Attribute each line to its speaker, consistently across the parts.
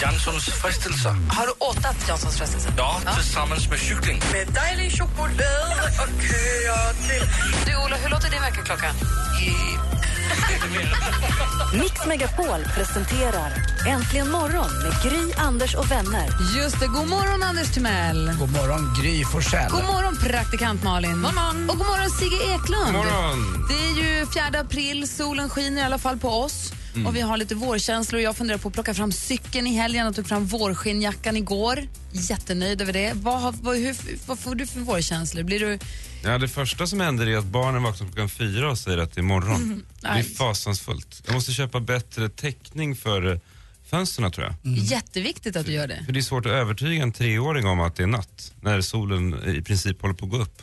Speaker 1: Janssons frestelser.
Speaker 2: Har du åtat Janssons frestelse?
Speaker 1: Ja, tillsammans med kyckling.
Speaker 2: Med dejlig choklad och köer till... Du, Ola, hur låter din väckarklocka?
Speaker 3: Mix Megapol presenterar Äntligen morgon med Gry, Anders och vänner.
Speaker 1: eh,
Speaker 2: Just det. God morgon, Anders Timell.
Speaker 4: God morgon, Gry Forssell.
Speaker 2: God morgon, praktikant Malin. Och god morgon, Sigge Eklund.
Speaker 5: morgon.
Speaker 2: Det är ju 4 april, solen skiner i alla fall på oss. Och vi har lite vårkänslor. Jag funderar på att plocka fram cykeln i helgen och tog fram vårskinnjackan igår. Jättenöjd över det. Vad, har- vad, hur, vad får du för vårkänslor? Blir
Speaker 4: Mm.
Speaker 2: du...
Speaker 5: Ja, det första som händer är att barnen vaknar klockan fyra och säger att det är morgon. det är
Speaker 2: nej.
Speaker 5: fasansfullt. Jag måste köpa bättre täckning för eh, fönstren tror jag.
Speaker 2: Mm. Jätteviktigt att du gör det.
Speaker 5: För det är svårt att övertyga en treåring om att det är natt när solen i princip håller på att gå upp.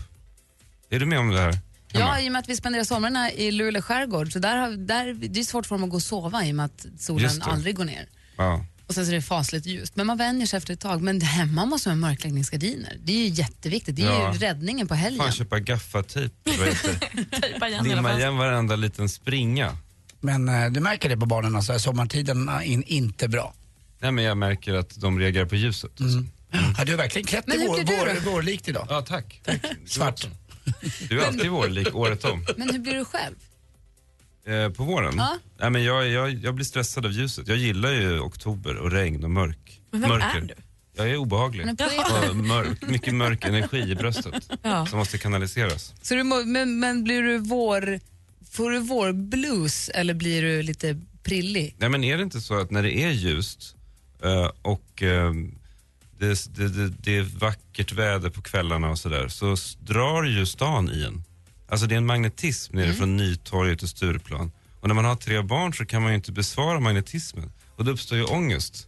Speaker 5: Är du med om det här?
Speaker 2: Ja,
Speaker 5: Emma?
Speaker 2: i och med att vi spenderar somrarna i Luleå skärgård så där, har- där, det är svårt för dem att gå och sova i och med att solen
Speaker 5: Just det.
Speaker 2: aldrig går ner.
Speaker 5: ja.
Speaker 2: Och sen så är det fasligt ljust. Men man vänjer sig efter ett tag. Men hemma måste man ha mörkläggningsgardiner. Det är ju jätteviktigt. Det är
Speaker 5: Ja.
Speaker 2: ju räddningen på
Speaker 5: Fan
Speaker 2: helgen.
Speaker 5: köpa gaffatejp. eller vad heter det? Dimma igen varenda liten springa.
Speaker 4: Men eh, du märker det på barnen, alltså, här sommartiden är in, inte bra.
Speaker 5: Nej men jag märker att de reagerar på ljuset.
Speaker 4: Har du verkligen klätt
Speaker 2: Mm. Men hur
Speaker 4: i vår,
Speaker 2: blir du
Speaker 4: vår, vårlikt idag?
Speaker 5: Ja tack. Du
Speaker 4: Svart.
Speaker 5: Du är alltid vårlik året om.
Speaker 2: Men hur blir du själv?
Speaker 5: Eh, på våren?
Speaker 2: Ja.
Speaker 5: Nej, men jag, jag, jag blir stressad av ljuset. Jag gillar ju oktober och regn och mörk.
Speaker 6: Men vem
Speaker 5: mörker.
Speaker 6: är du?
Speaker 5: Jag är obehaglig.
Speaker 2: Men på
Speaker 5: Och mörk, mycket mörk energi i bröstet som måste kanaliseras.
Speaker 2: Så du, må- men, men blir du vår... Får du vår blues eller blir du lite prillig?
Speaker 5: Nej, men är det inte så att när det är ljust eh, och eh, det, det, det, det är vackert väder på kvällarna och sådär så s- drar ju stan i en. Alltså det är en magnetism nere från Nytorget och Stureplan. Och när man har tre barn så kan man ju inte besvara magnetismen och då uppstår ju ångest.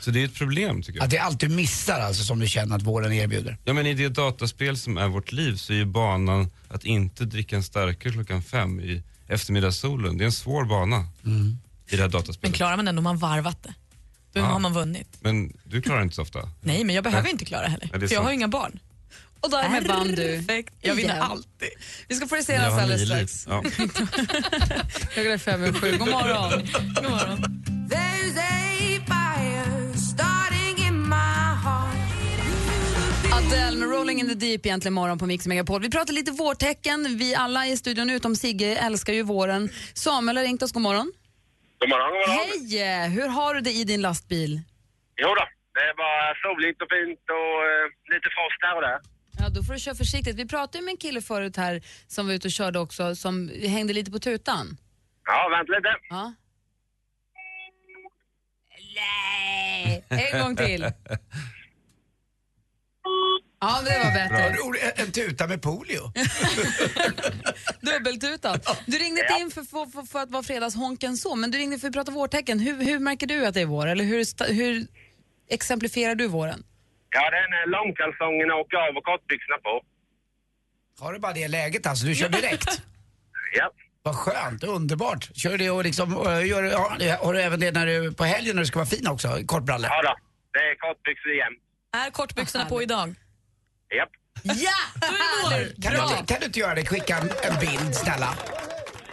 Speaker 5: Så det är ett problem tycker jag.
Speaker 4: Att det är allt du missar alltså, som du känner att våren erbjuder.
Speaker 5: Ja men i det dataspel som är vårt liv så är ju banan att inte dricka en starkare klockan fem i eftermiddagssolen, det är en svår bana i det här
Speaker 6: Men
Speaker 5: dataspelet. Men,
Speaker 6: klarar man den om man varvat det, då
Speaker 5: Ja.
Speaker 6: har man vunnit.
Speaker 5: du klarar inte så ofta?
Speaker 6: Nej, men jag behöver inte klara heller,
Speaker 5: Ja, det är
Speaker 6: för jag
Speaker 5: sant.
Speaker 6: har ju inga barn. Och därmed
Speaker 2: vann du.
Speaker 6: Perfekt. Jag vinner
Speaker 2: Igen.
Speaker 6: alltid.
Speaker 2: Vi ska få det
Speaker 5: Jag
Speaker 2: senast
Speaker 5: har
Speaker 2: alldeles
Speaker 5: nio liv.
Speaker 2: strax.
Speaker 5: Ja.
Speaker 2: Klockan är fem över sju. God morgon.
Speaker 6: God morgon.
Speaker 2: Adele med Rolling in the deep egentligen morgon på Mix Megapol. Vi pratar lite vårtecken. Vi alla i studion utom Sigge älskar ju våren. Samuel har ringt oss. God morgon.
Speaker 7: God morgon, god morgon.
Speaker 2: Hej! Hur har du det i din lastbil?
Speaker 7: Jo då, det är bara soligt och fint och eh, lite frost här och där.
Speaker 2: Ja, då får du köra försiktigt. Vi pratade ju med en kille förut här som var ute och körde också som hängde lite på tutan.
Speaker 7: Ja, vänta lite.
Speaker 2: Ja. Nej! En gång till. Ja, det var bättre.
Speaker 4: En, en tuta med polio.
Speaker 2: Dubbeltutan. Du ringde inte in för, för, för, för att vara fredagshonken så, men du ringde för att prata vårtecken. Hur, hur märker du att det är vår? Eller hur, sta- hur exemplifierar du våren?
Speaker 7: Ja, det är eh, när långkalsongerna åker av och kortbyxorna på.
Speaker 4: Har du bara det läget alltså? Du kör direkt?
Speaker 7: Ja.
Speaker 4: Vad skönt, underbart. Kör du det och liksom, och gör, har, har du även det när du, på helgen när du ska vara fin också? Kortbrallor?
Speaker 7: ja då, det är kortbyxor igen.
Speaker 6: Är
Speaker 2: Ah,
Speaker 6: kortbyxorna på idag?
Speaker 7: Japp.
Speaker 6: Ja! Då är det vår.
Speaker 4: Kan, du, inte- kan du inte göra det? Skicka en, en bild snälla.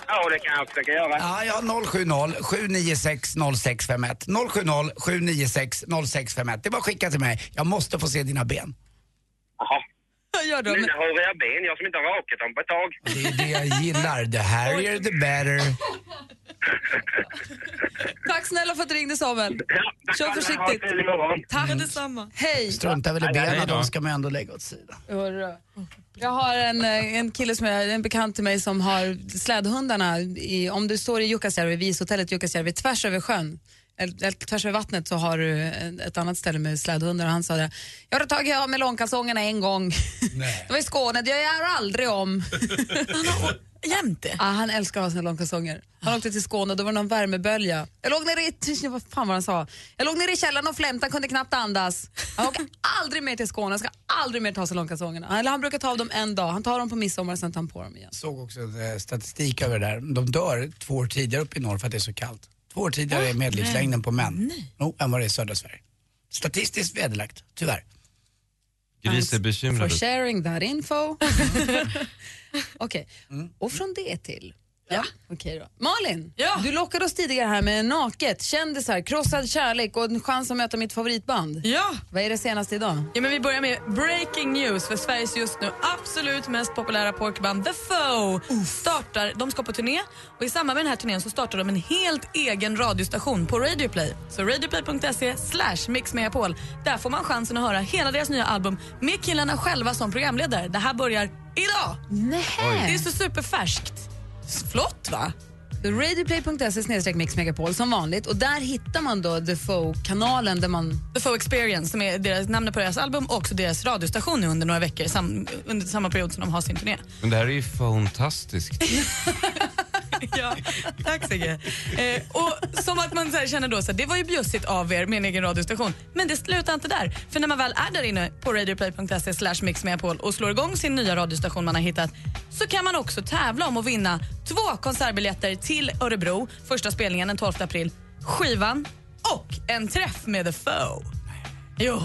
Speaker 7: Ja, det kan jag försöka göra.
Speaker 4: Ja, jag har 070 796 0651. 070 796 0651. Det är bara att skicka till mig. Jag måste få se dina ben.
Speaker 7: Jaha.
Speaker 2: Gör då, men,
Speaker 7: Mina håriga ben, jag som inte har rakat dem på ett tag.
Speaker 4: Det är det jag gillar. The harrier the better.
Speaker 2: tack snälla för att du ringde Samuel.
Speaker 7: Ja, tack
Speaker 2: Kör
Speaker 7: alla. Ha en
Speaker 2: försiktigt.
Speaker 7: trevlig morgon.
Speaker 6: Tack detsamma.
Speaker 2: Hej!
Speaker 4: Struntar väl i
Speaker 5: Hej
Speaker 4: benen,
Speaker 5: då.
Speaker 4: de ska man ju ändå lägga åt sidan.
Speaker 2: Hurra. Jag har en, eh, en kille som är en bekant till mig som har slädhundarna, i, om du står i Jukkasjärvi, vid ishotellet Jukkasjärvi, tvärs över sjön, eller, eller tvärs över vattnet så har du en- ett annat ställe med slädhundar och han sa det, jag har tagit av mig långkalsongerna en gång.
Speaker 4: Nej.
Speaker 2: Det var i Skåne, det gör jag aldrig om.
Speaker 6: jämt det?
Speaker 2: Ah, han älskar att ha sina långkalsonger. Han åkte till Skåne och då var det någon värmebölja. Jag låg nere i, vad fan var han sa? Jag låg nere i källaren och flämtade, kunde knappt andas. Han åker aldrig mer till Skåne, han ska aldrig mer ta sig långkalsongerna. Eller han brukar ta av dem en dag, han tar dem på midsommar och sen tar han på dem igen.
Speaker 4: såg också eh, statistik över det där. De dör två år tidigare uppe i norr för att det är så kallt. Två år tidigare är medellivslängden på män Jo, än vad det är i södra Sverige. Statistiskt vederlagt, tyvärr.
Speaker 5: Gris är
Speaker 2: For
Speaker 5: bekymrad.
Speaker 2: sharing that info. Okej, och från det till... Ja. Okej då. Malin,
Speaker 6: Ja.
Speaker 2: du lockade oss tidigare här med naket, kändisar, krossad kärlek och en chans att möta mitt favoritband.
Speaker 6: Ja.
Speaker 2: Vad är det senaste idag?
Speaker 6: ja, men vi börjar med breaking news för Sveriges just nu absolut mest populära pojkband The Foe. Startar, de ska på turné och i samband med den här turnén så startar de en helt egen radiostation på Radioplay. Så radioplay.se slash mixmegapol. Där får man chansen att höra hela deras nya album med killarna själva som programledare. Det här börjar idag. Det är
Speaker 2: Nej.
Speaker 6: så superfärskt. Flott va?
Speaker 2: Radioplay.se snedstreck mixmegapol som vanligt och där hittar man då The Foe-kanalen där man...
Speaker 6: The Foe Experience som är deras, namnet på deras album och också deras radiostation nu under några veckor sam, under samma period som de har sin turné.
Speaker 5: Men det här är ju fantastiskt.
Speaker 6: ja, tack Sigge. Eh, och som att man så här känner då så här, det var ju bjussigt av er med en egen radiostation. Men det slutar inte där. För när man väl är där inne på radioplay.se slash mixmegapol och slår igång sin nya radiostation man har hittat så kan man också tävla om att vinna två konsertbiljetter till Örebro, första spelningen den 12 april, skivan och en träff med The Foe. Jo.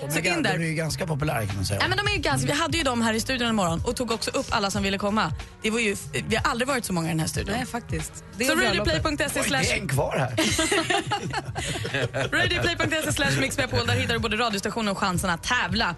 Speaker 6: Så
Speaker 4: De är-
Speaker 6: in
Speaker 4: de är
Speaker 6: där.
Speaker 4: ju ganska populära kan man säga.
Speaker 6: Ja, men de är ju ganska, vi hade ju dem här i studion en morgon och tog också upp alla som ville komma. Det var ju, vi har aldrig varit så många i den här studion.
Speaker 2: Nej, faktiskt. Det
Speaker 6: Så
Speaker 2: är radioplay.
Speaker 6: radioplay.se
Speaker 4: Oj, det är
Speaker 6: slash,
Speaker 4: en kvar här.
Speaker 6: radioplay.se slash mixmegapol. Där hittar du både radiostationen och chansen att tävla.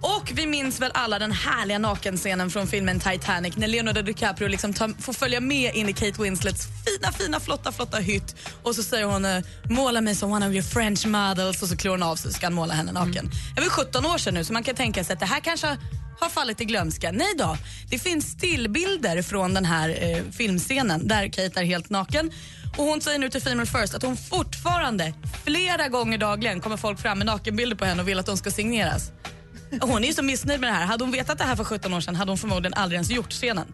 Speaker 6: Och vi minns väl alla den härliga nakenscenen från filmen Titanic när Leonardo DiCaprio liksom tar, får följa med in i Kate Winslets fina, fina, flotta, flotta hytt. Och så säger hon eh, “måla mig som one of your French models” och så klår hon av sig så ska han måla henne naken. Det var 17 år sedan nu så man kan tänka sig att det här kanske har fallit i glömska. Nej då, det finns stillbilder från den här eh, filmscenen där Kate är helt naken. Och Hon säger nu till Female First att hon fortfarande flera gånger dagligen kommer folk fram med nakenbilder på henne och vill att de ska signeras. Och Hon är ju så missnöjd med det här. Hade hon vetat det här för 17 år sedan hade hon förmodligen aldrig ens gjort scenen.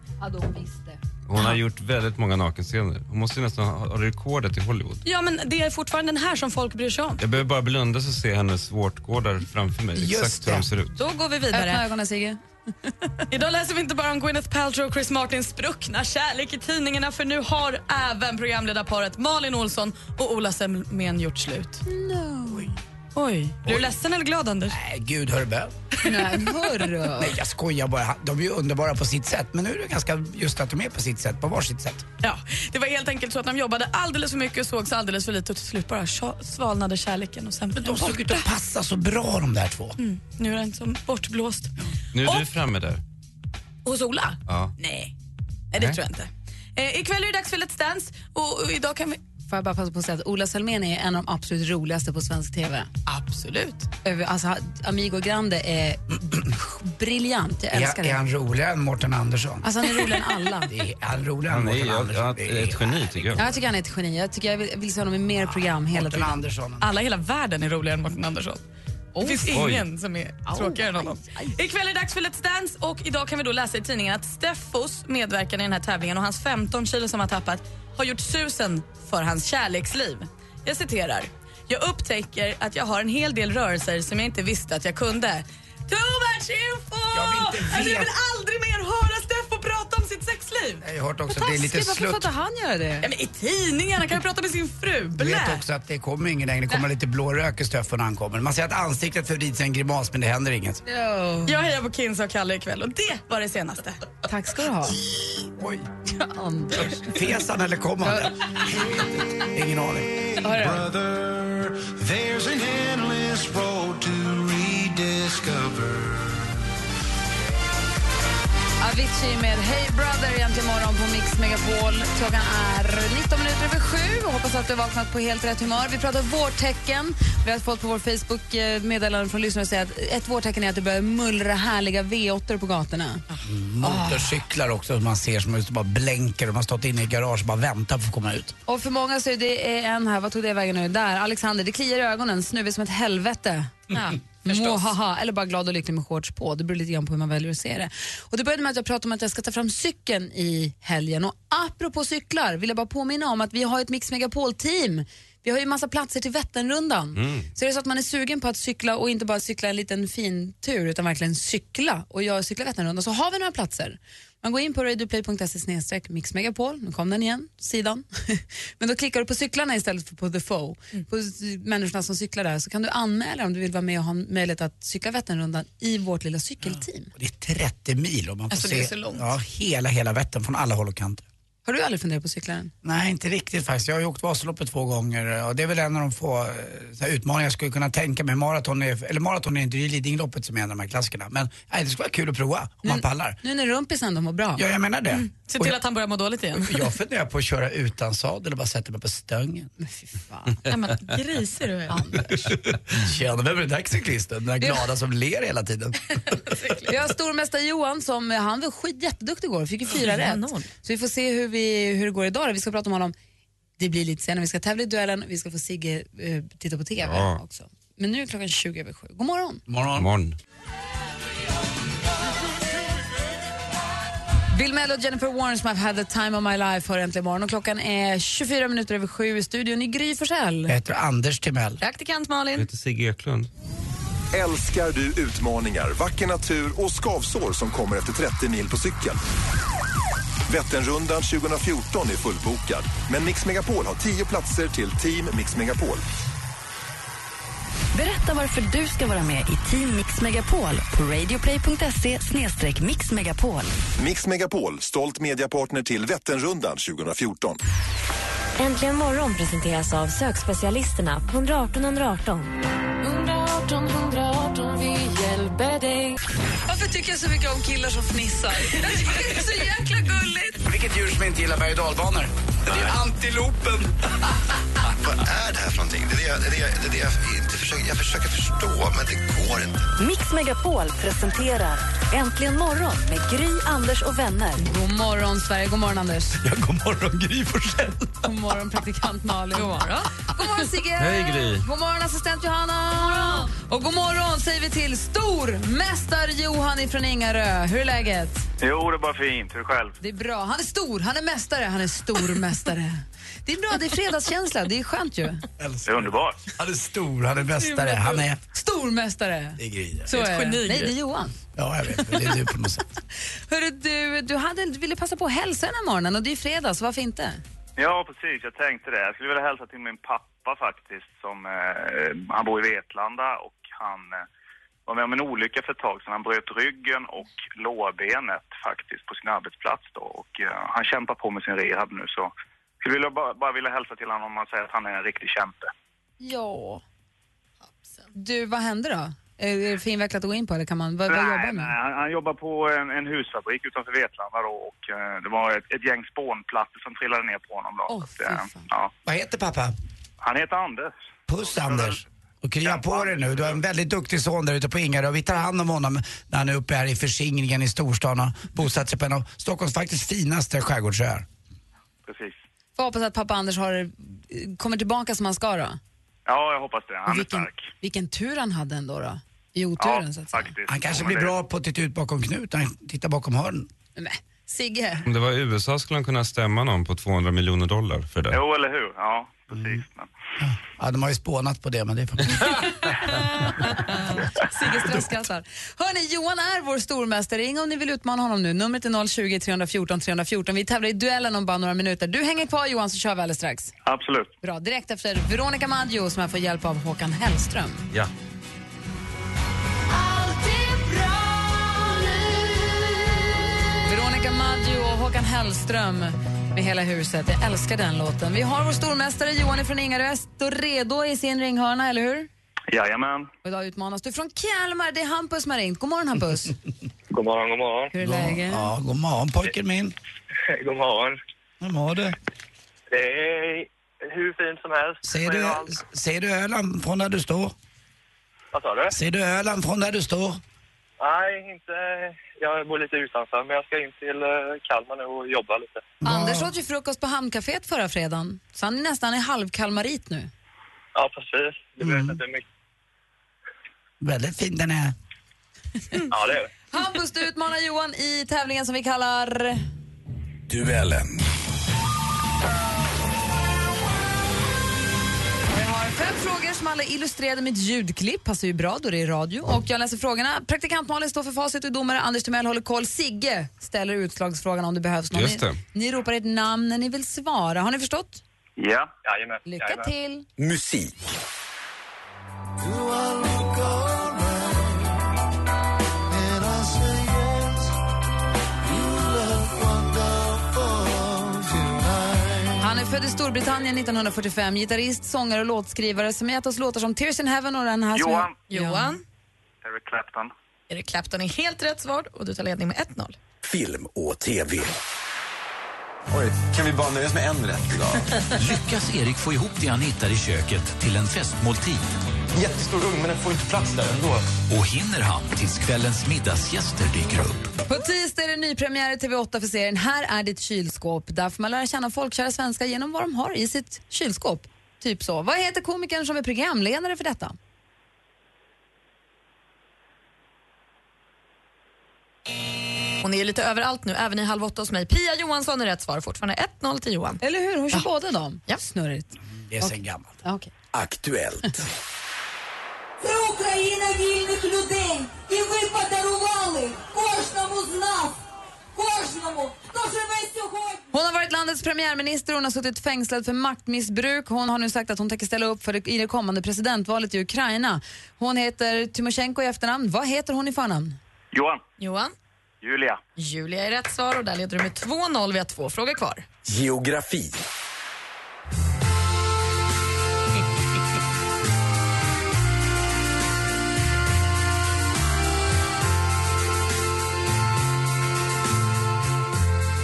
Speaker 5: Hon har gjort väldigt många nakenscener. Hon måste ju nästan ha ha rekordet i Hollywood.
Speaker 6: Ja, men det är fortfarande den här som folk bryr sig om.
Speaker 5: Jag behöver bara blunda så ser jag hennes vårtgårdar framför mig.
Speaker 4: Just
Speaker 5: Exakt hur de
Speaker 4: det.
Speaker 5: ser ut.
Speaker 6: Då går vi
Speaker 2: Öppna
Speaker 6: vidare.
Speaker 2: ögonen Sigge.
Speaker 6: Idag läser vi inte bara om Gwyneth Paltrow och Chris Martins spruckna kärlek i tidningarna för nu har även programledarparet Malin Olsson och Ola Semmen gjort slut. Oj. Blir du ledsen eller glad, Anders?
Speaker 4: Nej, gud hör du bön.
Speaker 2: Nej, hörru.
Speaker 4: Nej, jag skojar bara. De är ju underbara på sitt sätt. Men nu är det ganska just att de är på sitt sätt, på varsitt sätt.
Speaker 6: Ja, det var helt enkelt så att de jobbade alldeles för mycket och sågs alldeles för lite och till slut bara tja- svalnade kärleken och sen blev
Speaker 4: De
Speaker 6: den
Speaker 4: såg ut
Speaker 6: borta.
Speaker 4: att passa så bra de där två.
Speaker 5: Mm.
Speaker 6: Nu är den som bortblåst.
Speaker 5: Nu är du
Speaker 6: Och-
Speaker 5: framme där.
Speaker 6: Hos Ola?
Speaker 5: Ja.
Speaker 6: Nej. Nej, det
Speaker 5: Nej.
Speaker 6: tror jag inte. Eh, ikväll är det dags för Let's Dance och, och idag kan vi...
Speaker 2: Får jag bara passa på att säga att Ola Salmén är en av de absolut roligaste på svensk TV.
Speaker 6: Absolut.
Speaker 2: Över- Alltså, Amigo Grande är briljant, jag älskar
Speaker 4: Är, är
Speaker 2: det.
Speaker 4: han roligare än Mårten Andersson?
Speaker 2: Alltså han är roligare än alla.
Speaker 4: Det är han roligare än
Speaker 5: Han är
Speaker 4: Mårten
Speaker 5: ju
Speaker 4: Andersson?
Speaker 5: ja,
Speaker 4: Det är-
Speaker 5: ett geni tycker
Speaker 2: Ja,
Speaker 5: jag.
Speaker 2: jag tycker han är ett geni, jag, tycker jag, vill, jag vill se honom i mer program hela
Speaker 4: Mårten
Speaker 2: tiden.
Speaker 4: Andersson.
Speaker 6: Alla i hela världen är roligare än Mårten Andersson. Det finns
Speaker 5: Oj.
Speaker 6: ingen som är tråkigare än honom. Ikväll är det dags för Let's Dance och idag kan vi då läsa i tidningen att Steffos medverkan i den här tävlingen och hans 15 kilo som han tappat har gjort susen för hans kärleksliv. Jag citerar. Jag upptäcker att jag har en hel del rörelser som jag inte visste att jag kunde. Too much info!
Speaker 4: Jag vill inte
Speaker 6: Alltså, jag
Speaker 4: veta.
Speaker 6: vill aldrig mer höra Steffo prata om sitt sexliv.
Speaker 4: Jag har hört också att det är
Speaker 2: Taskigt,
Speaker 4: lite
Speaker 2: varför får
Speaker 4: slutt.
Speaker 2: inte han göra
Speaker 6: Ja,
Speaker 2: det?
Speaker 6: men I tidningarna kan han prata med sin fru.
Speaker 4: Du
Speaker 6: Blä.
Speaker 4: vet också att det kommer ingen längre. Det kommer lite blå rök i Steffo när han kommer. Man ser att ansiktet förvrids i en grimas men det händer inget.
Speaker 2: Jo.
Speaker 6: Jag hejar på Kinsa och Kalle ikväll och det var det senaste.
Speaker 2: Tack ska du ha.
Speaker 4: Oj,
Speaker 2: Anders.
Speaker 4: fes han eller kom han? Ingen aning.
Speaker 2: Avicii med Hey Brother egentligen imorgon på Mix Megapol. Klockan är 19 minuter över sju. Hoppas att du har vaknat på helt rätt humör. Vi pratar vårtecken. Vi har fått på vår Facebook eh, meddelanden från lyssnare som säger att ett vårtecken är att det börjar mullra härliga V8 på gatorna.
Speaker 4: Motorcyklar också som man ser som just bara blänker. De har stått inne i garage och bara väntar för att komma ut.
Speaker 2: Och för många så är det en här, vad tog det vägen nu? Där, Alexander, det kliar i ögonen, snuvig som ett helvete.
Speaker 6: Ja.
Speaker 2: Mohaha, eller bara glad och lycklig med shorts på. Det beror lite grann på hur man väljer att se det. Och det började med att jag pratade om att jag ska ta fram cykeln i helgen. Och apropå cyklar vill jag bara påminna om att vi har ett Mix Megapol-team. Vi har ju massa platser till Vätternrundan. Så är det så att man är sugen på att cykla och inte bara cykla en liten fin tur utan verkligen cykla och jag cyklar Vätternrundan så har vi några platser. Man går in på radioplay.se snedstreck mixmegapol, nu kom den igen, sidan. Men då klickar du på cyklarna istället för på the foe.
Speaker 6: Mm.
Speaker 2: På s- människorna som cyklar där så kan du anmäla dig om du vill vara med och ha möjlighet att cykla Vätternrundan i vårt lilla cykelteam.
Speaker 4: Och det är 30 mil och man får
Speaker 6: Alltså,
Speaker 4: se
Speaker 6: det är så långt.
Speaker 4: Ja, hela, hela Vättern från alla håll och kanter.
Speaker 2: Har du aldrig funderat på cyklaren?
Speaker 4: Nej, inte riktigt faktiskt. Jag har ju åkt Vasaloppet två gånger och det är väl en av de få eh, så här, utmaningar jag skulle kunna tänka mig. Maraton är, eller maraton är inte, det är Lidingöloppet som är en av de här klassikerna. Men nej, det skulle vara kul att prova om man pallar.
Speaker 2: Nu när rumpisen ändå mår bra.
Speaker 4: Ja, jag menar det.
Speaker 6: Mm, Se
Speaker 4: Och
Speaker 6: till att han börjar må dåligt igen.
Speaker 4: jag, jag funderar på att köra utan sadel och bara sätta mig på stången.
Speaker 2: Men fy fan.
Speaker 6: Nej, men, grisig du är.
Speaker 4: Tjena, vem är den där cyklisten? Den där glada som ler hela tiden.
Speaker 2: Vi har stormästare Johan som han var skit, jätteduktig igår, fick ju fyra rätt.
Speaker 6: Kanon.
Speaker 2: Så vi får se hur, vi, hur det går idag. då. Vi ska prata om honom. Det blir lite senare. Vi ska tävla i duellen och vi ska få Sigge eh, titta på TV
Speaker 5: Ja.
Speaker 2: också. Men nu är klockan 20 över sju. God morgon!
Speaker 4: Morgon.
Speaker 5: Morgon.
Speaker 2: Bill Mello och Jennifer Warren som I've had the time of my life har äntligen morgon och klockan är 24 minuter över sju i studion i Gry Forssell.
Speaker 4: Jag heter Anders Timell.
Speaker 6: Praktikant
Speaker 5: Jag
Speaker 6: Malin.
Speaker 5: heter Sigge Eklund.
Speaker 8: Älskar du utmaningar, vacker natur och skavsår som kommer efter 30 mil på cykel? Vätternrundan 2014 är fullbokad, men Mix Megapol har 10 platser till Team Mix Megapol.
Speaker 3: Berätta varför du ska vara med i Team Mix Megapol på radioplay.se snedstreck mixmegapol.
Speaker 8: Mix Megapol, stolt mediapartner till Vätternrundan 2014.
Speaker 3: Äntligen morgon presenteras av sökspecialisterna på 118 118.
Speaker 2: Varför tycker jag så mycket om killar som fnissar? Jag tycker det är så jäkla gulligt!
Speaker 4: Vilket djur som inte gillar berg och dalbanor? Det är antilopen.
Speaker 7: Vad är det här för någonting? Det är det jag, det är det jag, det är det jag inte försöker, jag försöker förstå, men det går inte.
Speaker 3: Mix Megapol presenterar Äntligen morgon med Gry, Anders och vänner.
Speaker 2: God morgon Sverige, god morgon Anders.
Speaker 4: Ja, god morgon, Gry Forssell.
Speaker 2: God morgon praktikant Malin.
Speaker 6: God morgon.
Speaker 2: God morgon Sigge!
Speaker 5: Hej, Gry.
Speaker 2: God morgon assistent Johanna! Och god morgon säger vi till stormästare Johan ifrån Ingarö. Hur är läget?
Speaker 7: Jo, det är bara fint. Hur själv?
Speaker 2: Det är bra. Han är stor, han är mästare, han är stormästare. Det är bra, det är fredagskänsla. Det är skönt ju.
Speaker 7: Det är underbart.
Speaker 4: Han är stor, han är mästare, han är...
Speaker 2: Stormästare.
Speaker 4: Det är Gry.
Speaker 2: Så
Speaker 6: ett
Speaker 2: är det.
Speaker 6: geni.
Speaker 2: Nej, det är Johan.
Speaker 4: Ja, jag vet. men Det är du på något sätt.
Speaker 2: Hörru, du, du hade, du ville passa på att hälsa den här morgonen och det är ju fredag, så varför inte?
Speaker 7: Ja, precis. Jag tänkte det. Jag skulle vilja hälsa till min pappa faktiskt. Som, eh, han bor i Vetlanda och han eh, var med om en olycka för ett tag sedan. Han bröt ryggen och lårbenet faktiskt på sin arbetsplats då. Och eh, han kämpar på med sin rehab nu så skulle vilja bara, bara vilja hälsa till honom och säga att han är en riktig kämpe.
Speaker 2: Ja. Du, vad hände då? Är det för invecklat att gå in på eller kan man, vad, vad jobbar
Speaker 7: Nej,
Speaker 2: han med?
Speaker 7: nej, han, han jobbar på en, en husfabrik utanför Vetlanda då och eh, det var ett, ett gäng spånplattor som trillade ner på honom då.
Speaker 2: Åh,
Speaker 7: Så att, eh,
Speaker 2: fy fan.
Speaker 7: ja.
Speaker 4: Vad heter pappa?
Speaker 7: Han heter Anders.
Speaker 4: Puss Anders. Och krya på dig nu. Du har en väldigt duktig son där ute på Ingarö. Vi tar hand om honom när han är uppe här i förskingringen i storstan och bosatt sig på en av Stockholms faktiskt finaste skärgårdsöar.
Speaker 7: Precis.
Speaker 2: Får hoppas att pappa Anders har, eh, kommer tillbaka som han ska då.
Speaker 7: Ja, jag hoppas det. Han är
Speaker 2: vilken,
Speaker 7: stark.
Speaker 2: vilken tur han hade ändå då. I
Speaker 7: Ja,
Speaker 2: oturen så att säga.
Speaker 7: faktiskt.
Speaker 4: Han kanske
Speaker 7: Ja,
Speaker 4: blir
Speaker 7: men det-
Speaker 4: bra på att titta ut bakom knut. Han tittar bakom hörn.
Speaker 2: Men, Sigge,
Speaker 5: Om det var i USA skulle han kunna stämma någon på 200 miljoner dollar för det.
Speaker 7: Jo, eller hur? Ja,
Speaker 2: Mm.
Speaker 7: precis. Men,
Speaker 4: Ja, de har ju spånat på det men det är för...
Speaker 2: Sigge stresskrattar. Hörni, Johan är vår stormästare. Ring om ni vill utmana honom nu. Numret är 020 314 314. Vi tävlar i duellen om bara några minuter. Du hänger kvar Johan så kör vi alldeles strax.
Speaker 7: absolut.
Speaker 2: Bra, direkt efter Veronica Maggio som här får hjälp av Håkan Hellström.
Speaker 5: Ja.
Speaker 2: Veronica Maggio och Håkan Hellström med Hela huset. Jag älskar den låten. Vi har vår stormästare Johan från Ingarö. Står redo i sin ringhörna, eller hur?
Speaker 7: Jajamän.
Speaker 2: Och idag utmanas du från Kalmar. Det är Hampus som har ringt. God morgon Hampus.
Speaker 7: God morgon, god morgon.
Speaker 2: Hur är läget?
Speaker 4: Ja, god morgon pojken min.
Speaker 7: God morgon.
Speaker 4: Hur mår du?
Speaker 7: Det är hur fint som helst.
Speaker 4: Ser du, ser du Öland från där du står?
Speaker 7: Vad sa du?
Speaker 4: Ser du Öland från där du står?
Speaker 7: Nej, inte... Jag bor lite utanför, men jag ska in till eh, Kalmar nu och jobba lite.
Speaker 2: Anders åt ju frukost på Hamncaféet förra fredagen. Så han är nästan i halvkalmarit nu. Mm.
Speaker 7: Ja, precis. Det blir inte mycket.
Speaker 4: Väldigt fin den är.
Speaker 7: Ja, det är det.
Speaker 2: Hampus, du utmanar Johan i tävlingen som vi kallar...
Speaker 9: Duellen.
Speaker 2: Vi har fem frågor som alla är illustrerade med ett ljudklipp. Passar ju bra då det är radio. Och jag läser frågorna. Praktikant Malin står för facit och domare Anders Timell håller koll. Sigge ställer utslagsfrågan om det behövs någon.
Speaker 7: Just det.
Speaker 2: Ni, ni ropar ert namn när ni vill svara. Har ni förstått?
Speaker 7: Ja, jajamän.
Speaker 2: Lycka till.
Speaker 9: Musik.
Speaker 2: Han är född i Storbritannien 1945, gitarrist, sångare och låtskrivare som gett oss låtar som Tears in Heaven och den här som
Speaker 7: Johan.
Speaker 2: jag-
Speaker 6: Johan.
Speaker 7: Eric Clapton.
Speaker 6: Eric Clapton är helt rätt svar och du tar ledning med 1-0.
Speaker 9: Film och TV. Oj, kan vi bara nöjas med en rätt idag?
Speaker 10: Lyckas Erik få ihop det han hittar i köket till en festmåltid? Jättestor ugn, men den får inte plats där ändå. Och hinner han tills kvällens middagsgäster dyker upp?
Speaker 2: På tisdag är det nypremiär i TV8 för serien Här är ditt kylskåp. Där får man lära känna folkkära svenskar genom vad de har i sitt kylskåp. Typ så. Vad heter komikern som är programledare för detta?
Speaker 6: Hon är ju lite överallt nu, även i Halv åtta hos mig. Pia Johansson är rätt svar, fortfarande 1-0 till Johan.
Speaker 2: Eller hur? Hon kör båda dem. Ja. Snurrigt.
Speaker 4: Det är sen gammalt.
Speaker 2: Okay.
Speaker 9: Aktuellt.
Speaker 11: Про Україна вільних людей, і ви подарували кожному з нас, кожному, хто живе сьогодні.
Speaker 2: Hon har varit landets premiärminister och hon har suttit fängslad för maktmissbruk. Hon har nu sagt att hon tänker ställa upp för det, i det kommande presidentvalet i Ukraina. Hon heter Tymosjenko i efternamn. Vad heter hon i förnamn?
Speaker 7: Johan.
Speaker 6: Johan.
Speaker 7: Julia.
Speaker 6: Julia är rätt svar och där leder du med 2-0. Vi har två frågor kvar.
Speaker 9: Geografi.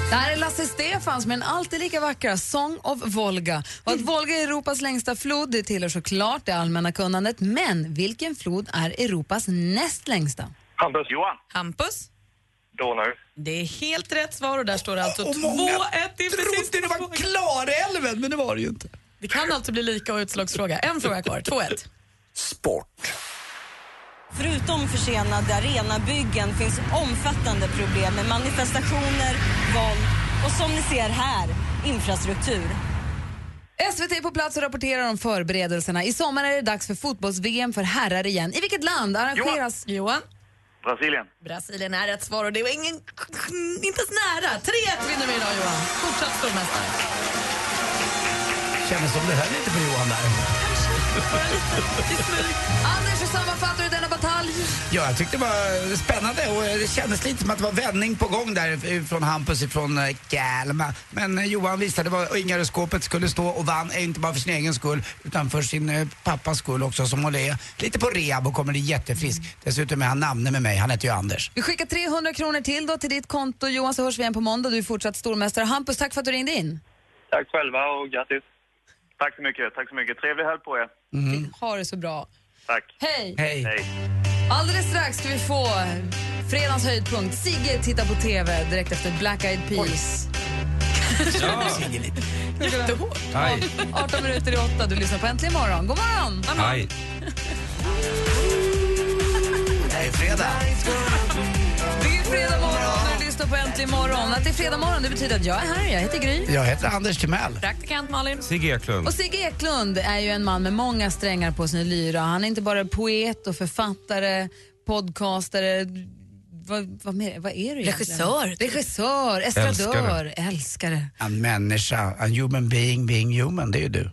Speaker 2: Det här är Lasse Stefans med den alltid lika vackra Song of Volga. Och att Volga är Europas längsta flod det tillhör såklart det allmänna kunnandet. Men vilken flod är Europas näst längsta?
Speaker 7: Hampus. Johan.
Speaker 6: Hampus.
Speaker 7: Donau.
Speaker 6: Det är helt rätt svar och där står det alltså 2-1
Speaker 7: Och många
Speaker 6: i precis det var
Speaker 4: Klarälven, men det var det ju inte.
Speaker 6: Det kan alltså bli lika och utslagsfråga. En fråga kvar, 2-1.
Speaker 9: Sport.
Speaker 12: Förutom försenade arenabyggen finns omfattande problem med manifestationer, våld och som ni ser här, infrastruktur.
Speaker 2: SVT är på plats och rapporterar om förberedelserna. I sommar är det dags för fotbolls-VM för herrar igen. I vilket land arrangeras...
Speaker 6: Johan.
Speaker 7: Brasilien.
Speaker 6: Brasilien är rätt svar och det var ingen... Inte ens nära. 3-1 vinner vi idag Johan. Fortsatt stormästare.
Speaker 4: Kändes som det höll lite på Johan där.
Speaker 2: Anders, hur sammanfattar du denna batalj?
Speaker 4: Ja, jag tyckte det var spännande och eh, det kändes lite som att det var vändning på gång där från Hampus ifrån eh, Kalmar. Men eh, Johan visade vad Ingaröskåpet skulle stå och vann, eh, inte bara för sin egen skull utan för sin eh, pappas skull också som håller är lite på rehab och kommer bli jättefrisk. Dessutom är han namne med mig, han heter ju Anders.
Speaker 2: Vi skickar 300 kronor till då till ditt konto. Johan, så hörs vi igen på måndag. Du är fortsatt stormästare. Hampus, tack för att du ringde in.
Speaker 7: Tack själva och grattis. Tack så mycket. Tack så mycket. Trevlig helg på er.
Speaker 2: Ha det så bra.
Speaker 7: Tack.
Speaker 2: Hej!
Speaker 4: Hej.
Speaker 2: Alldeles strax ska vi få fredagens höjdpunkt. Sigge tittar på TV direkt efter Black Eyed Peas.
Speaker 4: Ja.
Speaker 2: Jättehårt.
Speaker 4: Aj.
Speaker 2: 18 minuter i åtta. Du lyssnar på Äntligen morgon. God morgon!
Speaker 4: Aj. Det är fredag.
Speaker 2: Det är fredag morgon när du lyssnar på Äntligen morgon. Att det är fredag morgon det betyder att jag är här. Jag heter Gry.
Speaker 4: Jag heter Anders Timell.
Speaker 2: Praktikant Malin.
Speaker 5: Sigge Eklund.
Speaker 2: Och Sigge Eklund är ju en man med många strängar på sin lyra. Han är inte bara poet och författare, podcastare, vad, vad, mer, vad är du egentligen?
Speaker 6: Regissör.
Speaker 2: Regissör, typ. estradör,
Speaker 4: Älskare.
Speaker 2: älskare.
Speaker 4: En människa, en human being being human, det är ju du.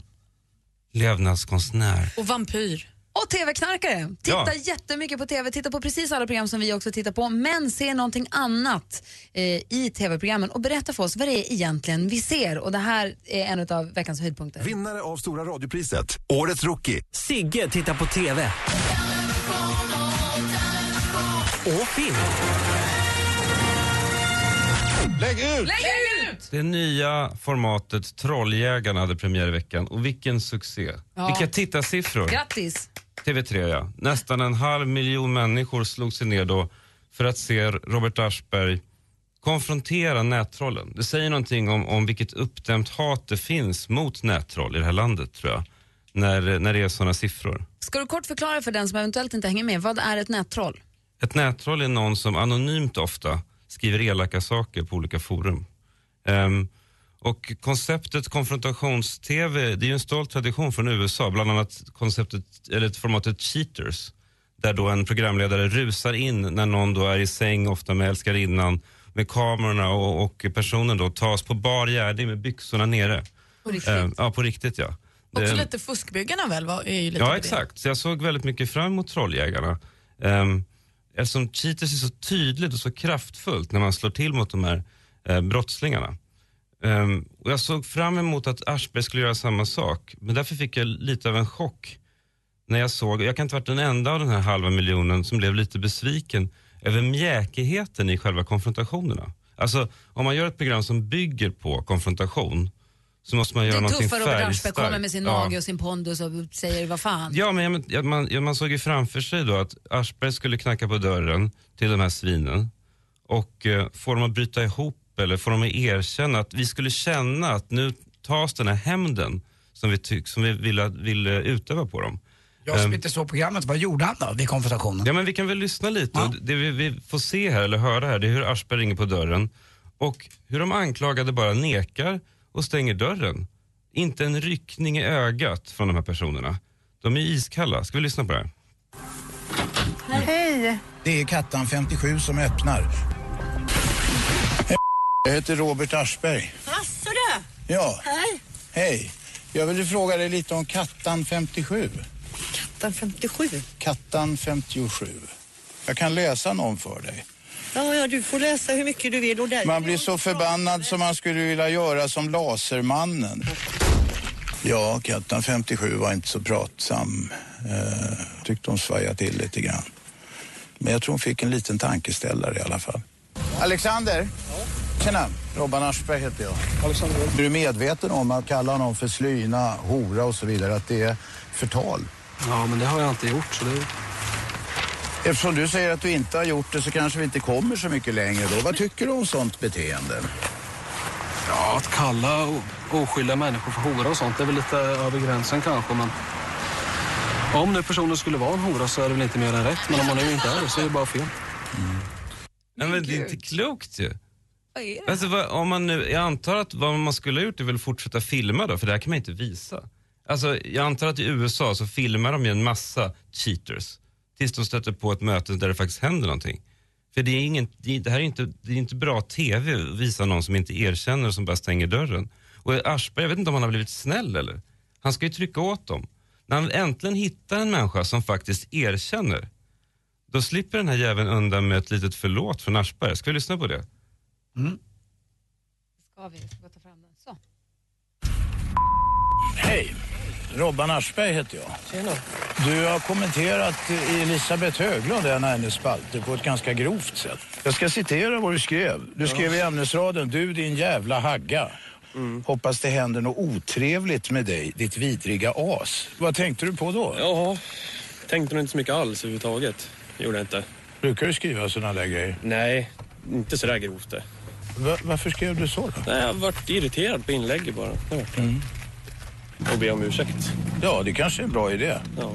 Speaker 5: Levnadskonstnär.
Speaker 6: Och vampyr.
Speaker 2: Och TV-knarkare. Titta
Speaker 5: Ja.
Speaker 2: jättemycket på TV. Titta på precis alla program som vi också tittar på. Men se någonting annat eh, i TV-programmen och berätta för oss vad det är egentligen vi ser. Och det här är en av veckans höjdpunkter.
Speaker 8: Vinnare av Stora radiopriset, Årets rookie. Sigge tittar på TV.
Speaker 9: Och film.
Speaker 5: Lägg ut! Det nya formatet Trolljägarna hade premiär i veckan och vilken succé.
Speaker 2: Ja.
Speaker 5: Vilka tittarsiffror.
Speaker 2: Grattis!
Speaker 5: TV3 ja. Nästan en halv miljon människor slog sig ner då för att se Robert Aschberg konfrontera nättrollen. Det säger någonting om, om vilket uppdämt hat det finns mot nättroll i det här landet tror jag. när, när det är sådana siffror.
Speaker 2: Ska du kort förklara för den som eventuellt inte hänger med, vad är ett nättroll?
Speaker 5: Ett nättroll är någon som anonymt ofta skriver elaka saker på olika forum. Ehm, och konceptet konfrontations-tv, det är ju en stolt tradition från USA, bland annat konceptet, eller formatet Cheaters, där då en programledare rusar in när någon då är i säng, ofta med älskarinnan, med kamerorna och, och personen då tas på bar gärning med byxorna nere.
Speaker 6: På riktigt?
Speaker 5: Ehm, ja, på riktigt ja.
Speaker 6: Också
Speaker 5: Det-
Speaker 6: lite fuskbyggarna väl? Var, är ju lite av
Speaker 5: ja,
Speaker 6: det.
Speaker 5: exakt. Så jag såg väldigt mycket fram emot Trolljägarna. Um, eftersom Cheaters är så tydligt och så kraftfullt när man slår till mot de här eh, brottslingarna. Ehm, och jag såg fram emot att Aschberg skulle göra samma sak. Men därför fick jag lite av en chock när jag såg, jag kan inte ha varit den enda av den här halva miljonen som blev lite besviken över mjäkigheten i själva konfrontationerna. Alltså om man gör ett program som bygger på konfrontation så måste man
Speaker 2: Det
Speaker 5: göra
Speaker 2: är
Speaker 5: någonting
Speaker 2: tuffare Robert Aschberg
Speaker 5: färgstarkt.
Speaker 2: kommer med sin
Speaker 5: Ja.
Speaker 2: mage och sin pondus och säger vad fan.
Speaker 5: Ja, men, jag men ja, man, ja, man såg ju framför sig då att Aschberg skulle knacka på dörren till de här svinen och eh, få dem att bryta ihop eller få dem att erkänna att vi skulle känna att nu tas den här hämnden som vi, tyck, som vi ville vill eh, utöva på dem.
Speaker 4: Jag som
Speaker 5: Ehm,
Speaker 4: inte såg programmet, vad gjorde han då vid konfrontationen?
Speaker 5: Ja, men vi kan väl lyssna lite. Och Det vi, vi får se här, eller höra här, det är hur Aschberg ringer på dörren och hur de anklagade bara nekar och stänger dörren. Inte en ryckning i ögat från de här personerna. De är iskalla. Ska vi lyssna på det här?
Speaker 13: Hej! Det är Kattan 57 som öppnar. Jag heter Robert Aschberg.
Speaker 11: Asså du!
Speaker 13: Ja,
Speaker 11: Hej!
Speaker 13: hej. Jag ville fråga dig lite om Kattan 57.
Speaker 11: Kattan 57.
Speaker 13: Kattan 57. Jag kan läsa någon för dig.
Speaker 11: Ja, ja, du får läsa hur mycket du vill. Och där.
Speaker 13: Man blir så förbannad som man skulle vilja göra som Lasermannen. Ja, Kattan 57 var inte så pratsam. Eh, tyckte hon svajade till lite grann. Men jag tror hon fick en liten tankeställare i alla fall. Alexander? Tjena, Robban Aschberg heter jag. Alexander. Är du medveten om att kalla honom för slyna, hora och så vidare, att det är förtal?
Speaker 14: Ja, men det har jag inte gjort. Så det...
Speaker 13: Eftersom du säger att du inte har gjort det så kanske vi inte kommer så mycket längre då. Vad tycker du om sånt beteende?
Speaker 14: Ja, att kalla o- oskyldiga människor för hora och sånt, det är väl lite över gränsen kanske. Men om nu personen skulle vara en hora så är det väl inte mer än rätt. Men om hon nu inte är det så är det bara fel.
Speaker 5: Nej, men det är inte klokt ju.
Speaker 2: Vad är det?
Speaker 5: Alltså, vad, om man nu, jag antar att vad man skulle ha gjort är väl fortsätta filma då, för det här kan man inte visa. Alltså, jag antar att i USA så filmar de ju en massa cheaters tills de stöter på ett möte där det faktiskt händer någonting. För det, är ingen, det det här är inte, det är inte bra TV att visa någon som inte erkänner och som bara stänger dörren. Och Aschberg, jag vet inte om han har blivit snäll eller? Han ska ju trycka åt dem. När han äntligen hittar en människa som faktiskt erkänner, då slipper den här jäveln undan med ett litet förlåt från Aschberg. Ska vi lyssna på det?
Speaker 2: Ska vi? Ska vi ta fram den? Så.
Speaker 13: Hej! Robban Aschberg heter jag. Du har kommenterat Elisabeth Höglund, en av hennes spalter, på ett ganska grovt sätt. Jag ska citera vad du skrev. Du skrev i ämnesraden, du din jävla hagga.
Speaker 4: Mm.
Speaker 13: Hoppas det händer något otrevligt med dig, ditt vidriga as. Vad tänkte du på då?
Speaker 15: Ja, tänkte nog inte så mycket alls överhuvudtaget. Gjorde jag inte.
Speaker 13: Brukar du skriva sådana där grejer?
Speaker 15: Nej, inte sådär grovt det.
Speaker 13: Va- varför skrev du så då?
Speaker 15: Nej, jag varit irriterad på inlägget bara. Det vart jag. Och be om ursäkt.
Speaker 13: Ja, det kanske är en bra idé.
Speaker 15: Ja.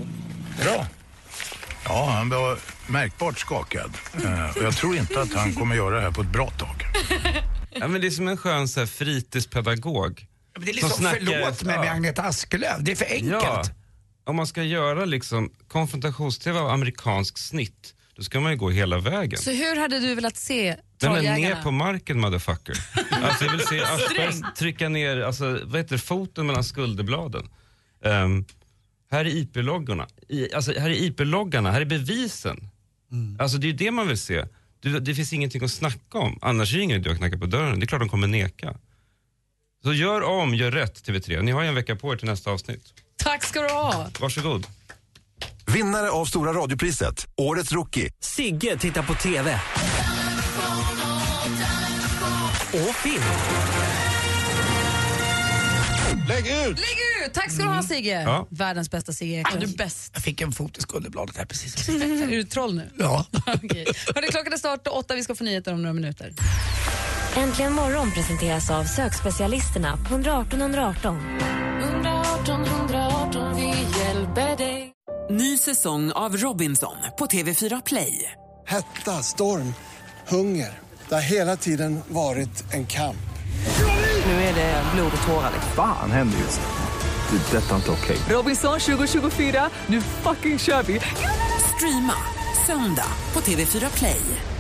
Speaker 13: Bra. Ja, han var märkbart skakad. Eh, Och jag tror inte att han kommer göra det här på ett bra tag.
Speaker 5: Ja, men det är som en skön så här, fritidspedagog.
Speaker 4: Men det är liksom, förlåt mig med Agneta Askelöv, det är för enkelt.
Speaker 5: Ja, om man ska göra liksom konfrontations-tv av amerikansk snitt, då ska man ju gå hela vägen.
Speaker 2: Så hur hade du velat se
Speaker 5: Den är ner
Speaker 2: Trolljägarna?
Speaker 5: på marken motherfucker. Alltså, jag vill se Aschberg trycka ner alltså, vad heter det, foten mellan skulderbladen. Ehm, här är IP-loggorna. I, alltså, här är IP-loggarna, här är bevisen. Alltså det är ju det man vill se. Du, det finns ingenting att snacka om. Annars är det ingen idé att knacka på dörren. Det är klart de kommer neka. Så gör om, gör rätt TV3. Ni har ju en vecka på er till nästa avsnitt.
Speaker 2: Tack ska du ha!
Speaker 5: Varsågod.
Speaker 8: Vinnare av Stora radiopriset, Årets rookie.
Speaker 16: Sigge tittar på TV. Och film.
Speaker 4: Lägg ut!
Speaker 2: Lägg ut! Tack ska du ha Sigge!
Speaker 4: Ja.
Speaker 2: Världens bästa Sigge Eklund. Du bäst.
Speaker 4: Jag fick en fot i skulderbladet här precis.
Speaker 2: Är du ett troll nu?
Speaker 4: Ja.
Speaker 2: Okej. Hörni, klockan är snart åtta, vi ska få nyheter om några minuter.
Speaker 3: Äntligen morgon presenteras av sökspecialisterna på 118 118.
Speaker 11: 118, 118, vi
Speaker 6: Ny säsong av Robinson på TV4 Play.
Speaker 13: Hetta, storm, hunger. Det har hela tiden varit en kamp.
Speaker 6: Nu är det blod och tårar.
Speaker 17: Fan händer just det. Det är detta inte okej.
Speaker 6: Robinson 2024, nu fucking kör vi! Streama söndag på TV4 Play.